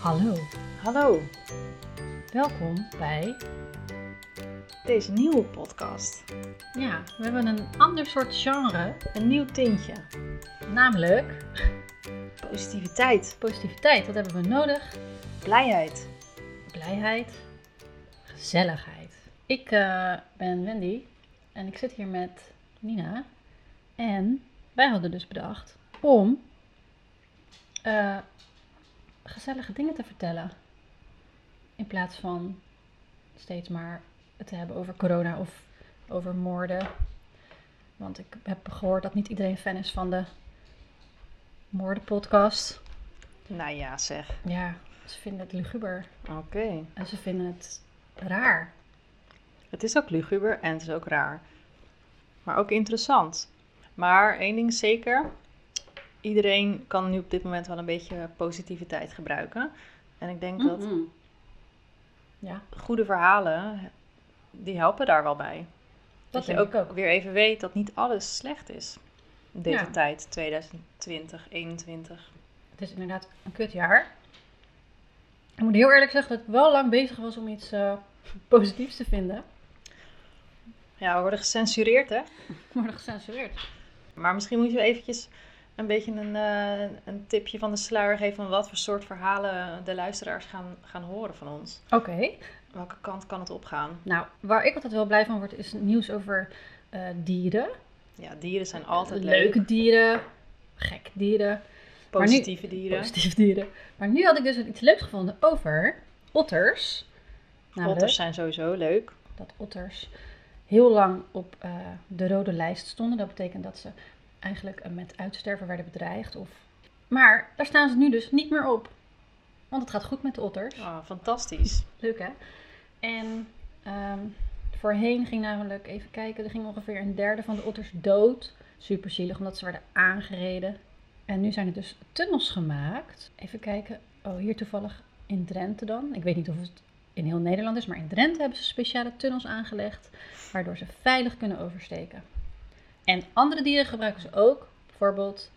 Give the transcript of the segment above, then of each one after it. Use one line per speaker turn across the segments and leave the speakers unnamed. Hallo,
Hallo,
welkom bij.
deze nieuwe podcast.
Ja, we hebben een ander soort genre,
Een nieuw tintje.
namelijk
Positiviteit,
positiviteit. Wat hebben we nodig?
blijheid.
Blijheid, gezelligheid. Ik eh, ben Wendy en ik zit hier met Nina. En wij hadden dus bedacht om eh, gezellige dingen te vertellen. In plaats van steeds maar het te hebben over corona of over moorden. Want ik heb gehoord dat niet iedereen fan is van de moordenpodcast.
Nou ja, zeg.
Ja, ze vinden het luguber.
Oké.
En ze vinden het raar.
Het is ook luguber en het is ook raar. Maar ook interessant. Maar één ding is zeker. Iedereen kan nu op dit moment wel een beetje positiviteit gebruiken. En ik denk
Mhm.
dat
Ja,
goede verhalen, die helpen daar wel bij.
dat
je
denk ik ook.
weer even weet dat niet alles slecht is. In deze
Ja.
tijd, 2020, 21.
Het is inderdaad een kutjaar. Ik moet heel eerlijk zeggen dat ik wel lang bezig was om iets eh, positiefs te vinden.
Ja, we worden gecensureerd, hè?
We worden gecensureerd.
Maar misschien moet je eventjes een beetje een, eh, een tipje van de sluier geven van wat voor soort verhalen de luisteraars gaan, gaan horen van ons.
Oké.
Welke kant kan het opgaan?
Nou, waar ik altijd wel blij van word is nieuws over eh, dieren.
Ja, dieren zijn altijd leuk.
Leuke dieren. Gek dieren.
Positieve dieren.
Positief dieren. Maar nu had ik dus iets leuks gevonden over otters. Namelijk-
Otters zijn sowieso leuk.
dat otters heel lang op eh, de rode lijst stonden. Dat betekent dat ze eigenlijk eh, met uitsterven werden bedreigd. Of... Maar daar staan ze nu dus niet meer op. Want het gaat goed met de otters.
Ah, fantastisch.
Leuk hè? En ehm, voorheen ging namelijk, even kijken, er ging ongeveer een derde van de otters dood. Super zielig, omdat ze werden aangereden. En nu zijn er dus tunnels gemaakt. Even kijken, oh hier toevallig in Drenthe dan. Ik weet niet of het in heel Nederland is, maar in Drenthe hebben ze speciale tunnels aangelegd. Waardoor ze veilig kunnen oversteken. En andere dieren gebruiken ze ook. Bijvoorbeeld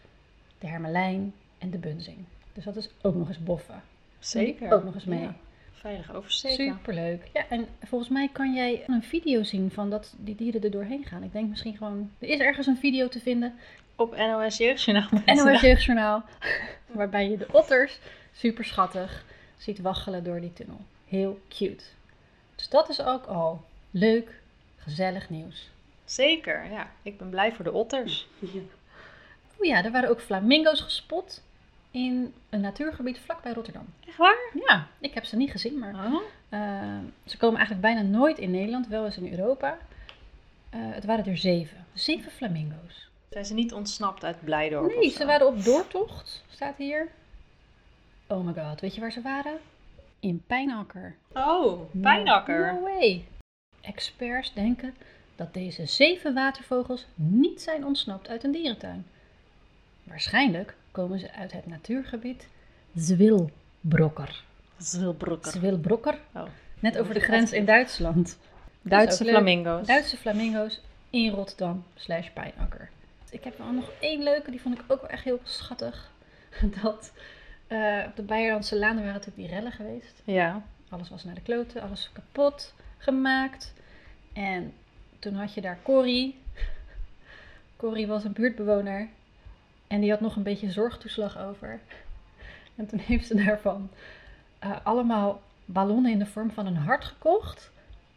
de hermelijn en de bunzing. Dus dat is ook nog eens boffen.
Zeker.
Ook nog eens mee.
Ja, veilig oversteken.
Superleuk. Ja, en volgens mij kan jij een video zien van dat die dieren er doorheen gaan. Ik denk misschien gewoon... Er is ergens een video te vinden.
Op NOS Jeugdjournaal.
NOS Jeugdjournaal. waarbij je de otters, super schattig, ziet waggelen door die tunnel. Heel cute. Dus dat is ook al leuk, gezellig nieuws.
Zeker, ja. Ik ben blij voor de otters.
Oh ja, er waren ook flamingo's gespot in een natuurgebied vlakbij Rotterdam.
Echt waar?
Ja, ik heb ze niet gezien, maar Eh, ze komen eigenlijk bijna nooit in Nederland, wel eens in Europa. Eh, het waren er zeven. Zeven flamingo's.
Zijn ze niet ontsnapt uit Blijdorp?
Nee,
of zo?
ze waren op doortocht, staat hier. Oh my god, weet je waar ze waren? In Pijnakker.
Oh, pijnakker.
No way. Experts denken dat deze zeven watervogels niet zijn ontsnapt uit een dierentuin. Waarschijnlijk komen ze uit het natuurgebied Zwilbrokker.
Zilbroeker.
Zwilbrokker,
Oh.
net over de grens in Duitsland.
Duitse
ook leuk.
flamingo's.
Duitse flamingo's in Rotterdam slash Pijnakker. Ik heb wel nog één leuke, die vond ik ook wel echt heel schattig. Dat eh, op de Beierlandse Laan waren natuurlijk die rellen geweest.
Ja.
Alles was naar de kloten, alles kapot gemaakt. En toen had je daar Corrie. Corrie was een buurtbewoner. En die had nog een beetje zorgtoeslag over. En toen heeft ze daarvan eh, allemaal ballonnen in de vorm van een hart gekocht.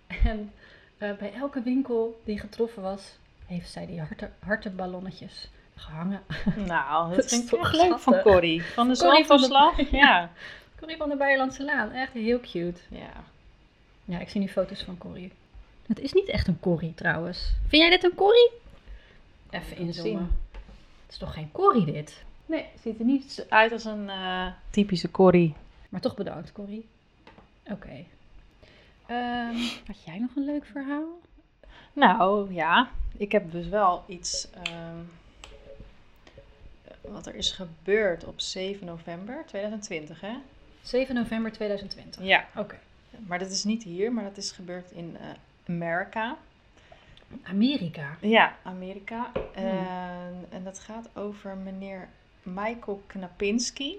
En eh, bij elke winkel die getroffen was, heeft zij die harten, hartenballonnetjes gehangen.
Nou,
Dat
dat
is
vind ik
toch
toch leuk
schattig.
van Corrie. Van de
Corrie van de-
zandverslag. Ja.
Corrie van de Beierlandse Laan, echt heel cute.
ja.
Ja, ik zie nu foto's van Corrie. Het is niet echt een Corrie trouwens. Vind jij dit een Corrie? Even inzoomen. Het is toch geen Corrie dit?
Nee, ziet er niet uit als een eh, typische Corrie.
Maar toch bedankt, Corrie. Oké. Ehm, had jij nog een leuk verhaal?
Nou, ja. Ik heb dus wel iets ehm, wat er is gebeurd op 7 november 2020, hè?
7 november 2020.
Ja.
Oké.
Maar dat is niet hier, maar dat is gebeurd in eh Amerika.
Amerika.
Ja, Hmm. Amerika. En- en dat gaat over meneer Michael Knapinski.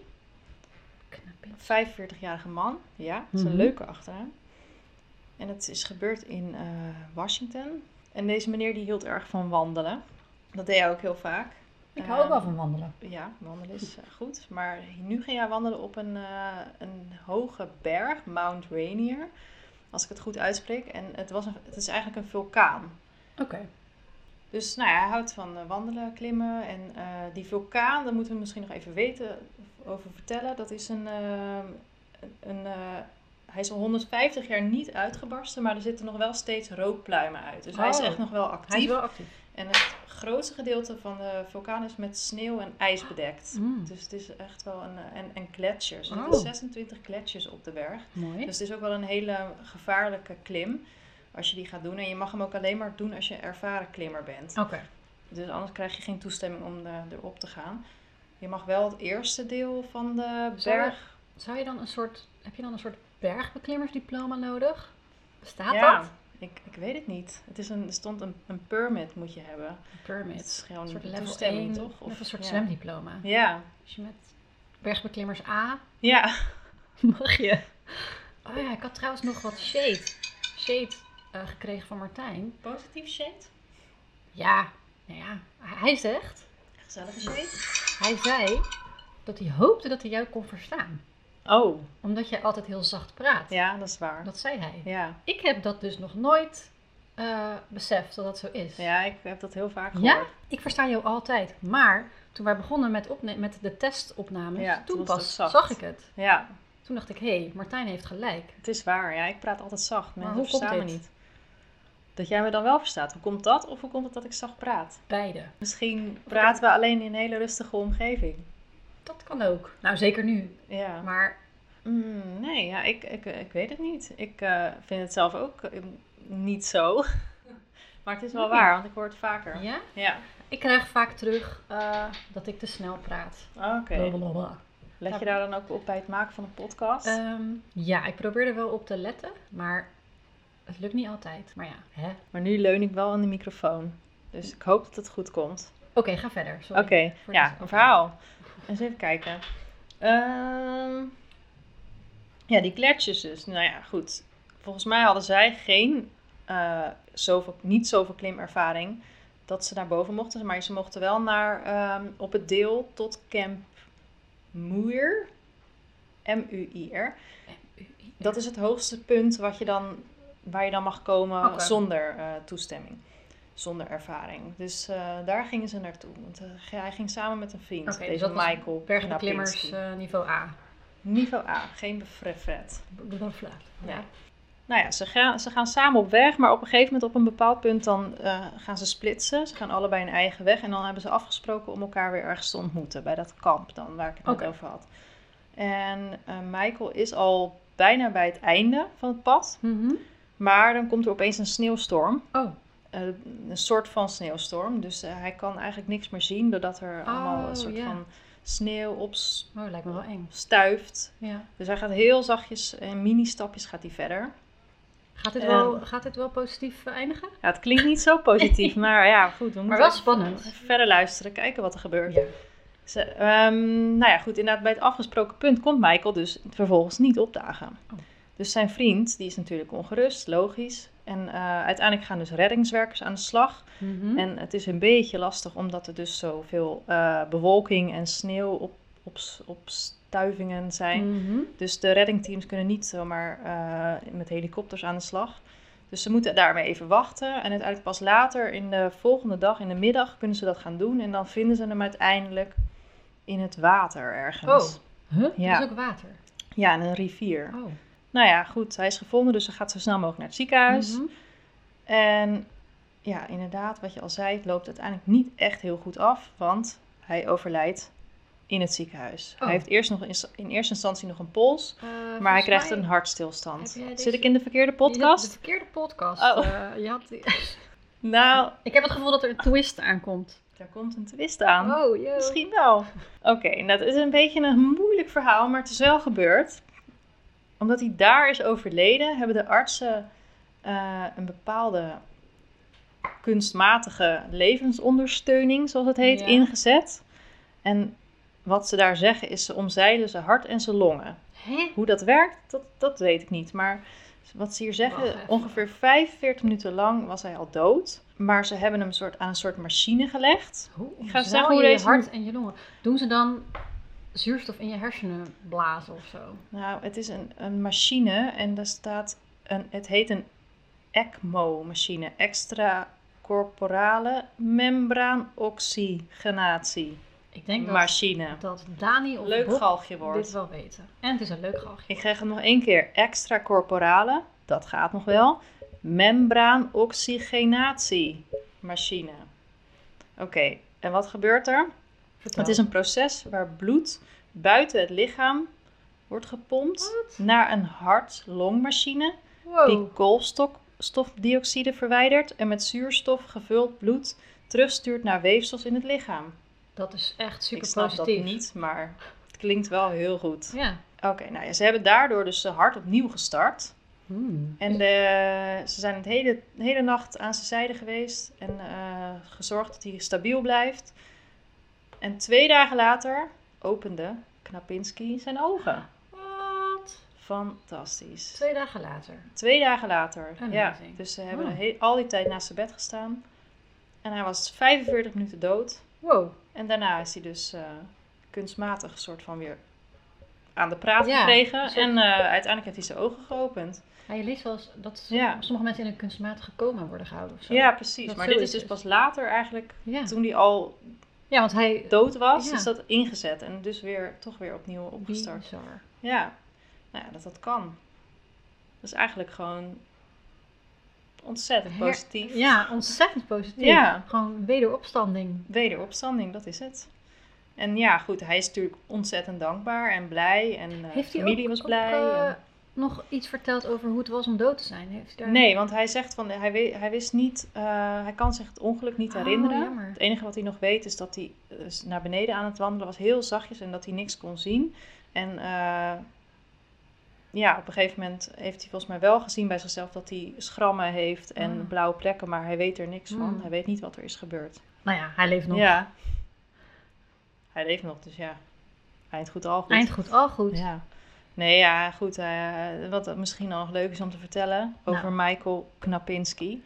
Knappie.
45-jarige man. Ja, dat is een
Mhm.
leuke achternaam. En het is gebeurd in eh, Washington. En deze meneer die hield erg van wandelen. Dat deed hij ook heel vaak.
Ik hou ook
Ehm,
wel van wandelen.
Ja, wandelen is eh, goed. Maar nu ging hij wandelen op een, eh, een hoge berg, Mount Rainier. Als ik het goed uitspreek. En het, was een, het is eigenlijk een vulkaan.
Oké.
Dus nou ja, hij houdt van eh, wandelen, klimmen. En eh, die vulkaan, daar moeten we misschien nog even weten over vertellen. Dat is een. ehm, een eh, hij is al 150 jaar niet uitgebarsten, maar er zitten nog wel steeds rookpluimen uit. Dus hij is
Oh.
echt nog wel
Hij is
actief.
wel actief.
En het grootste gedeelte van de vulkaan is met sneeuw en ijs bedekt.
Mm,
Dus het is echt wel een. eh, En, en gletsjers. Er
Oh.
zitten 26 gletsjers op de berg.
mooi.
Dus het is ook wel een hele gevaarlijke klim. Als je die gaat doen. En je mag hem ook alleen maar doen als je ervaren klimmer bent.
Oké.
Dus anders krijg je geen toestemming om eh, erop te gaan. Je mag wel het eerste deel van de
Zou je-
berg.
Zou je dan een soort, heb je dan een soort bergbeklimmersdiploma nodig? Bestaat dat?
ik, ik weet het niet. Het is een, er stond een, een permit moet je hebben.
Een
Het
Permit.
is gewoon
Een soort
een
level
toestemming,
1,
toch?
toch? Of een soort
ja.
zwemdiploma.
Ja.
Als je met bergbeklimmers A
ja,
mag je. Oh ja, ik had trouwens nog wat shade, shade eh, gekregen van Martijn.
positief shade.
Ja, nou ja, hij zegt,
Gezellige shade.
hij zei dat hij hoopte dat hij jou kon verstaan.
Oh,
Omdat jij altijd heel zacht praat.
ja, dat is waar.
Dat zei hij.
Ja.
Ik heb dat dus nog nooit eh, beseft dat dat zo is.
ja, ik heb dat heel vaak
Ja?
gehoord.
Ik versta jou altijd. Maar toen wij begonnen met, opne- met de testopnames,
Ja,
toen,
toen was het
pas
zacht.
zag ik het.
Ja.
Toen dacht ik, hé, hey, Martijn heeft gelijk.
het is waar. Ja, ik praat altijd zacht.
Maar
Mensen
hoe komt
verstaan me
dit?
niet. Dat jij me dan wel verstaat. Hoe komt dat? Of hoe komt het dat ik zacht praat?
Beide.
Misschien praten we alleen in een hele rustige omgeving.
Dat kan ook. Nou, zeker nu.
Ja.
Maar
Mm, nee, ja, ik, ik, ik weet het niet. Ik eh, vind het zelf ook eh, niet zo. Maar het is wel
Nee.
waar, want ik hoor het vaker.
ja,
Oh. Ja,
ik krijg vaak terug eh, dat ik te snel praat.
Ah, oké.
Blablabla.
Let je daar dan ook op bij het maken van een podcast?
Ehm, ja, ik probeer er wel op te letten, maar het lukt niet altijd. Maar ja, hè.
Maar nu leun ik wel aan de microfoon. Dus ik hoop dat het goed komt.
Oké, ga verder.
Oké,
Sorry. voor
ja,
deze
een verhaal. Eens even kijken. Ehm, ja, die gletsjers dus. Nou ja, goed. Volgens mij hadden zij geen, eh, zoveel, niet zoveel klimervaring dat ze naar boven mochten. Maar ze mochten wel naar, ehm, op het deel tot Camp Muir. M-U-I-R. Dat is het hoogste punt wat je dan, waar je dan mag komen
Oké.
zonder eh, toestemming. Zonder ervaring. Dus eh, daar gingen ze naartoe. Want eh, hij ging samen met een vriend.
Oké, dus
deze
dat was
Michael
Bergbeklimmers
Knapinski.
eh, niveau A.
Niveau A, geen befret.
Blablabla. Ja.
Nou ja, ze gaan, ze gaan samen op weg, maar op een gegeven moment op een bepaald punt dan eh, gaan ze splitsen. Ze gaan allebei een eigen weg en dan hebben ze afgesproken om elkaar weer ergens te ontmoeten. Bij dat kamp dan, waar ik het
Oké.
net over had. En eh, Michael is al bijna bij het einde van het pad,
Mhm.
maar dan komt er opeens een sneeuwstorm.
Oh,
Eh, een soort van sneeuwstorm, dus eh, hij kan eigenlijk niks meer zien doordat er allemaal
Oh,
een soort
ja.
van sneeuw op
oh, lijkt me wel eng.
stuift.
Ja.
Dus hij gaat heel zachtjes, in mini-stapjes gaat hij verder.
Gaat, dit
En-
wel, gaat dit wel positief eh, eindigen?
Ja, het klinkt niet zo positief, maar ja, goed. We moeten
Maar wel
even-
spannend.
even verder luisteren, kijken wat er gebeurt. Ze- ehm, nou ja, goed, inderdaad, bij het afgesproken punt komt Michael dus vervolgens niet opdagen.
Oh.
Dus zijn vriend, die is natuurlijk ongerust, logisch. En eh, uiteindelijk gaan dus reddingswerkers aan de slag.
Mhm.
En het is een beetje lastig, omdat er dus zoveel eh, bewolking en sneeuw op, op, op stuivingen zijn.
Mhm.
Dus de reddingteams kunnen niet zomaar eh, met helikopters aan de slag. Dus ze moeten daarmee even wachten. En uiteindelijk pas later in de volgende dag, in de middag, kunnen ze dat gaan doen. En dan vinden ze hem uiteindelijk in het water ergens.
Oh. Huh?
Ja.
Er is ook water.
Ja, in een rivier.
Oh.
Nou ja, goed. Hij is gevonden, dus hij gaat zo snel mogelijk naar het ziekenhuis.
Mhm.
En ja, inderdaad, wat je al zei, het loopt uiteindelijk niet echt heel goed af. Want hij overlijdt in het ziekenhuis.
Oh.
Hij heeft eerst nog in, in eerste instantie nog een pols.
Eh,
Maar hij
volgens
krijgt
mij-
een hartstilstand.
heb jij deze-
Zit ik in de verkeerde
De,
podcast?
de verkeerde podcast.
Oh.
Eh, je had die-
Nou,
ik heb het gevoel dat er een twist aankomt.
daar komt een twist aan.
Oh, yo.
Misschien wel. Oké, nou, dat is een beetje een moeilijk verhaal, maar het is wel gebeurd. Omdat hij daar is overleden, hebben de artsen eh, een bepaalde kunstmatige levensondersteuning, zoals het heet,
Ja.
ingezet. En wat ze daar zeggen is ze omzeilen zijn hart en zijn longen.
Hè?
Hoe dat werkt, dat, dat weet ik niet. Maar wat ze hier
Wacht
zeggen,
even.
ongeveer 45 minuten lang was hij al dood. Maar ze hebben hem soort, aan een soort machine gelegd.
Hoe
Ik
ik
ga
ga
eens zeggen hoe
je
deze-
hart en je longen. Doen ze dan zuurstof in je hersenen blazen of zo?
Nou, het is een, een machine en daar staat een, het heet een ECMO-machine, extracorporale membraanoxygenatie
Ik denk dat,
machine.
dat Dani of
Leuk
Bob
galgje
dit
wordt.
wel weten. En het is een leuk galgje.
Ik krijg hem nog één keer. Extracorporale, dat gaat nog wel. Membraanoxygenatie machine. Oké, en wat gebeurt er?
Vertel.
Het is een proces waar bloed buiten het lichaam wordt gepompt
Wat?
naar een hart-longmachine
Wow.
die koolstofdioxide verwijdert en met zuurstof gevuld bloed terugstuurt naar weefsels in het lichaam.
Dat is echt super
Ik snap
positief.
dat niet, maar het klinkt wel heel goed.
Ja.
Oké, nou ja, ze hebben daardoor dus zijn hart opnieuw gestart.
Hmm.
En eh, ze zijn het hele, de hele nacht aan zijn zijde geweest en eh, gezorgd dat hij stabiel blijft. En twee dagen later opende Knapinski zijn ogen.
Wat?
Fantastisch.
Twee dagen later.
Twee dagen later. Ja,
Amazing. Oh.
dus ze hebben
Wow.
he- al die tijd naast zijn bed gestaan. En hij was 45 minuten dood.
Wow.
En daarna is hij dus eh, kunstmatig soort van weer aan de praat
Ja,
gekregen.
een soort-
En eh, uiteindelijk heeft hij zijn ogen geopend.
Ja, je leest wel eens dat s-
Ja.
sommige mensen in een kunstmatige coma worden gehouden of zo.
Ja, precies.
Dat
maar
zo
dit is
is
dus
het.
pas later eigenlijk,
Ja.
toen hij al
Ja, want hij...
dood was,
Ja.
is dat ingezet. En dus weer, toch weer opnieuw opgestart.
Bizar.
Ja, nou ja, dat dat kan. Dat is eigenlijk gewoon ontzettend
Her-
positief.
Ja, ontzettend positief.
Ja.
Gewoon wederopstanding.
Wederopstanding, dat is het. En ja, goed, hij is natuurlijk ontzettend dankbaar en blij. En eh,
Heeft hij
familie
ook,
was
ook,
blij.
eh,
en-
nog iets verteld over hoe het was om dood te zijn? Heeft hij daar...
Nee, want hij zegt van hij, we- hij wist niet, eh, hij kan zich het ongeluk niet
Oh,
herinneren.
jammer.
Het enige wat hij nog weet is dat hij eh, naar beneden aan het wandelen was, heel zachtjes en dat hij niks kon zien. En eh, ja, op een gegeven moment heeft hij volgens mij wel gezien bij zichzelf dat hij schrammen heeft en
Ah.
blauwe plekken, maar hij weet er niks van.
Mm.
Hij weet niet wat er is gebeurd.
Nou ja, hij leeft nog.
Ja. Hij leeft nog, dus ja. Eind goed al goed.
Eind goed, al goed.
Ja. Nee, ja, goed. eh, wat misschien nog leuk is om te vertellen over
Nou.
Michael Knapinski.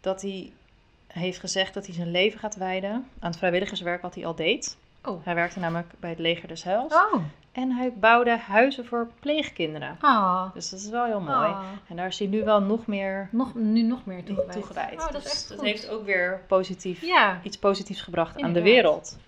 Dat hij heeft gezegd dat hij zijn leven gaat wijden aan het vrijwilligerswerk wat hij al deed.
Oh.
Hij werkte namelijk bij het leger des Heils.
Oh.
En hij bouwde huizen voor pleegkinderen.
Ah.
Dus dat is wel heel mooi.
Ah.
En daar is hij nu wel nog meer
Nog, nu nog meer toegewijd.
toegewijd.
Oh, dat
Dus
is echt
dat
goed.
heeft ook weer positief,
Ja.
iets positiefs gebracht aan de
Inderdaad.
wereld.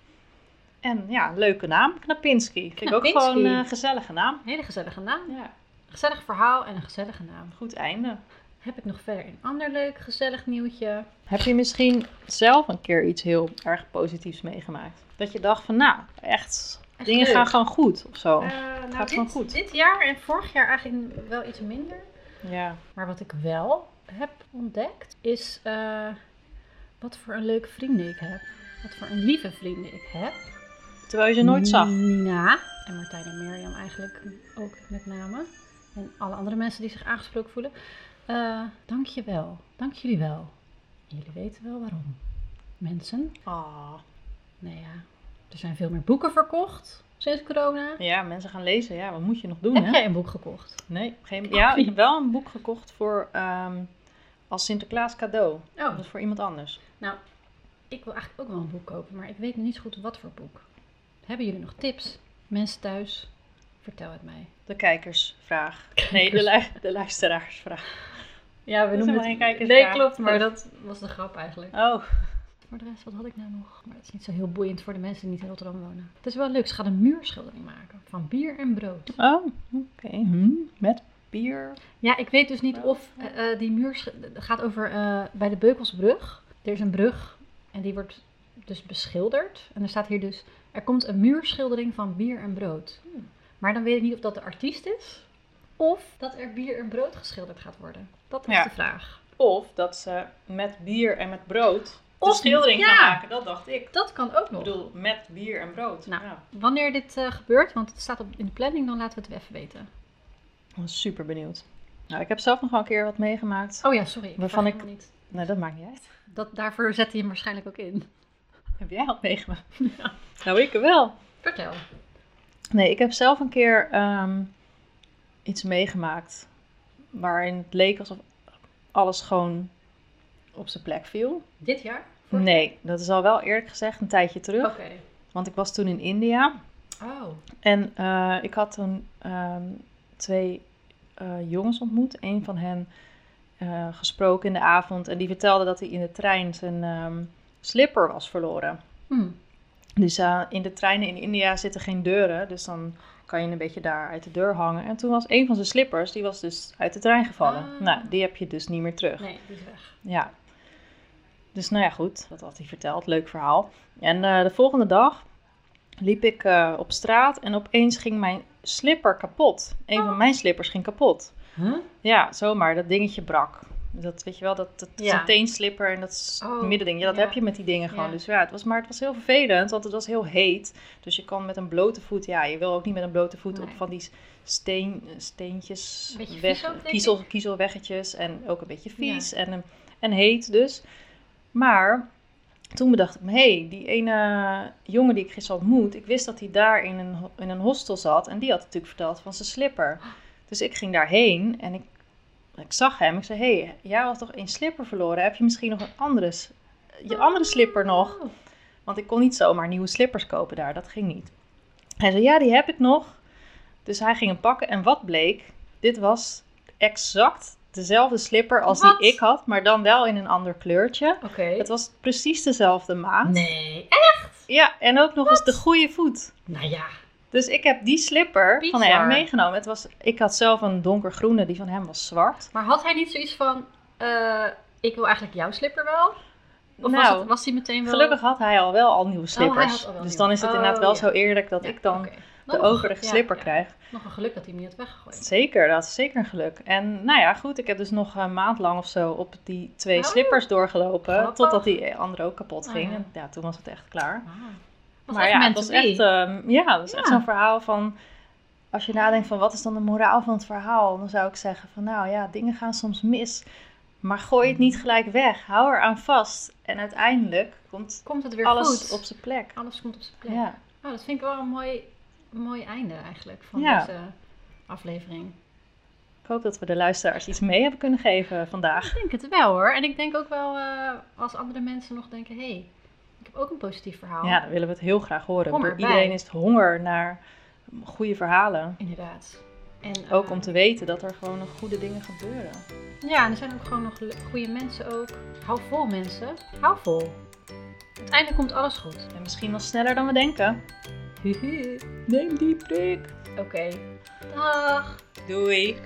En ja, leuke naam, Knapinski. Vind ik ook
Knapinski.
gewoon eh, een gezellige naam.
Hele gezellige naam.
Ja.
Gezellig verhaal en een gezellige naam.
Goed einde.
Heb ik nog verder een ander leuk, gezellig nieuwtje?
Heb je misschien zelf een keer iets heel erg positiefs meegemaakt? Dat je dacht van, nou, echt,
Echt
dingen
leuk.
gaan gewoon goed of zo.
Eh, nou, dit,
gaat gewoon goed.
dit jaar en vorig jaar eigenlijk wel iets minder.
Ja.
Maar wat ik wel heb ontdekt is eh, wat voor een leuke vrienden ik heb. Wat voor een lieve vrienden ik heb.
Terwijl je ze nooit zag.
Nina en Martijn en Mirjam eigenlijk ook met name. En alle andere mensen die zich aangesproken voelen. Eh dank je wel. Dank jullie wel. En jullie weten wel waarom. Mensen,
Ah.
nou ja, er zijn veel meer boeken verkocht sinds corona.
Ja, mensen gaan lezen. Ja, wat moet je nog doen,
Heb
hè?
jij een boek gekocht?
Nee, geen... Ja, ik heb wel een boek gekocht voor, ehm, als Sinterklaas cadeau.
Oh,
Dat is voor iemand anders.
nou, ik wil eigenlijk ook wel een boek kopen, maar ik weet niet zo goed wat voor boek. Hebben jullie nog tips? Mensen thuis, vertel het mij.
De kijkersvraag. Nee, de, lu- de luisteraarsvraag.
Ja, we
is
noemen
helemaal
het...
geen kijkersvraag.
Nee, klopt, maar dat was de grap eigenlijk.
Oh,
Voor de rest, wat had ik nou nog? Maar dat is niet zo heel boeiend voor de mensen die niet in Rotterdam wonen. Het is wel leuk, ze gaat een muurschildering maken van bier en brood.
oh oké. Hm, Met bier.
Ja, ik weet dus niet of eh, eh, die muur gaat over eh, bij de Beukelsbrug. Er is een brug en die wordt dus beschilderd. En er staat hier dus, er komt een muurschildering van bier en brood.
Hmm.
Maar dan weet ik niet of dat de artiest is of dat er bier en brood geschilderd gaat worden. Dat is
Ja.
de vraag.
Of dat ze met bier en met brood de
Of-
schildering
ja.
gaan maken. Dat dacht ik.
Dat kan ook
Ik
nog.
bedoel, met bier en brood.
Nou.
Ja.
Wanneer dit eh, gebeurt, want het staat op, in de planning, dan laten we het even weten.
Ik ben super benieuwd. Nou, ik heb zelf nog wel een keer wat meegemaakt.
Oh ja, sorry.
Waarvan
zag
ik-
helemaal Niet.
Nee, dat maakt niet uit.
Dat, daarvoor zet hij hem waarschijnlijk ook in.
Heb jij wat meegemaakt? Nou, ik wel.
Vertel.
Nee, ik heb zelf een keer ehm, iets meegemaakt waarin het leek alsof alles gewoon op zijn plek viel.
Dit jaar? Vorig
Nee, dat is al wel eerlijk gezegd een tijdje terug,
jaar? Oké.
want ik was toen in India
Oh.
en eh, ik had toen ehm, twee eh, jongens ontmoet. Eén van hen eh, gesproken in de avond en die vertelde dat hij in de trein zijn ehm, slipper was verloren.
Hm.
Dus eh, in de treinen in India zitten geen deuren, dus dan kan je een beetje daar uit de deur hangen. En toen was een van zijn slippers, die was dus uit de trein gevallen.
Ah.
Nou, die heb je dus niet meer terug.
Nee, die is weg.
Ja. Dus nou ja, goed, dat had hij verteld. Leuk verhaal. En eh, de volgende dag liep ik eh, op straat en opeens ging mijn slipper kapot. Een van mijn slippers ging kapot.
Huh?
Ja, zomaar, dat dingetje brak. Dat weet je wel, dat, dat is
Ja.
een teenslipper en dat is
Oh,
het middending. Ja, dat
ja.
heb je met die dingen gewoon.
Ja.
Dus ja, het was, maar het was heel vervelend, want het was heel heet. Dus je kan met een blote voet, ja, je wil ook niet met een blote voet op
Nee.
van die steen, steentjes,
Beetje vies
weg,
ook, denk
kiezel,
ik.
kiezelweggetjes en ook een beetje vies en, een- en heet dus. Maar toen bedacht ik me, hé, hey, die ene jongen die ik gisteren ontmoet, ik wist dat hij daar in een, ho- in een hostel zat en die had natuurlijk verteld van zijn slipper. Dus ik ging daarheen en ik, ik zag hem. Ik zei, hé, hey, jij had toch één slipper verloren? Heb je misschien nog een andere, s- je andere slipper nog?
Oh.
Want ik kon niet zomaar nieuwe slippers kopen daar, dat ging niet. Hij zei, ja, die heb ik nog. Dus hij ging hem pakken en wat bleek? Dit was exact dezelfde slipper als
Wat?
die ik had, maar dan wel in een ander kleurtje.
Oké.
Het was precies dezelfde maat.
Nee.
Ja, en ook nog eens de goede voet.
Nou ja.
Dus ik heb die slipper van
Bizar.
hem meegenomen. Het was, ik had zelf een donkergroene, die van hem was zwart.
Maar had hij niet zoiets van, eh, ik wil eigenlijk jouw slipper wel? Of was,
nou,
het, was hij meteen wel... Oh,
gelukkig had hij al wel al nieuwe
hij had
slippers.
al wel
dus
nieuwe.
dan is het
Oh,
inderdaad wel
ja.
zo eerlijk dat
Ja,
ik dan
oké.
de
Nou,
overige
ja,
slipper
ja.
krijg.
Nog een geluk dat hij hem niet had weggegooid.
Zeker, dat is zeker een geluk. En nou ja, goed, ik heb dus nog een maand lang of zo op die twee
Oh,
slippers doorgelopen.
grappig.
Totdat die andere ook kapot ging.
Ah, ja.
En ja, toen was het echt klaar.
Ah. Was
Maar
echt
ja, het
meant
was
to be.
echt, ehm, ja, dat is echt
Ja.
zo'n verhaal van... Als je nadenkt van wat is dan de moraal van het verhaal? Dan zou ik zeggen van nou ja, dingen gaan soms mis. Maar gooi
Mm.
het niet gelijk weg. Hou er aan vast. En uiteindelijk komt
Komt het weer
alles
goed.
op zijn plek.
Alles komt op zijn plek.
Ja.
Oh, dat vind ik wel een mooi, een mooi einde eigenlijk van
Ja.
deze aflevering.
Ik hoop dat we de luisteraars iets mee hebben kunnen geven vandaag.
Ik denk het wel hoor. En ik denk ook wel eh, als andere mensen nog denken, hé, hey, ik heb ook een positief verhaal.
Ja, dan willen we het heel graag horen.
Kom
Ik bedoel,
erbij.
Iedereen is honger naar goede verhalen.
Inderdaad. En, eh,
Ook om te weten dat er gewoon nog goede dingen gebeuren.
Ja, en er zijn ook gewoon nog le- goede mensen ook. Hou vol mensen. Hou vol. Uiteindelijk komt alles goed.
En misschien wel sneller dan we denken.
Huhu.
Neem die prik.
Oké. Dag.
Doei.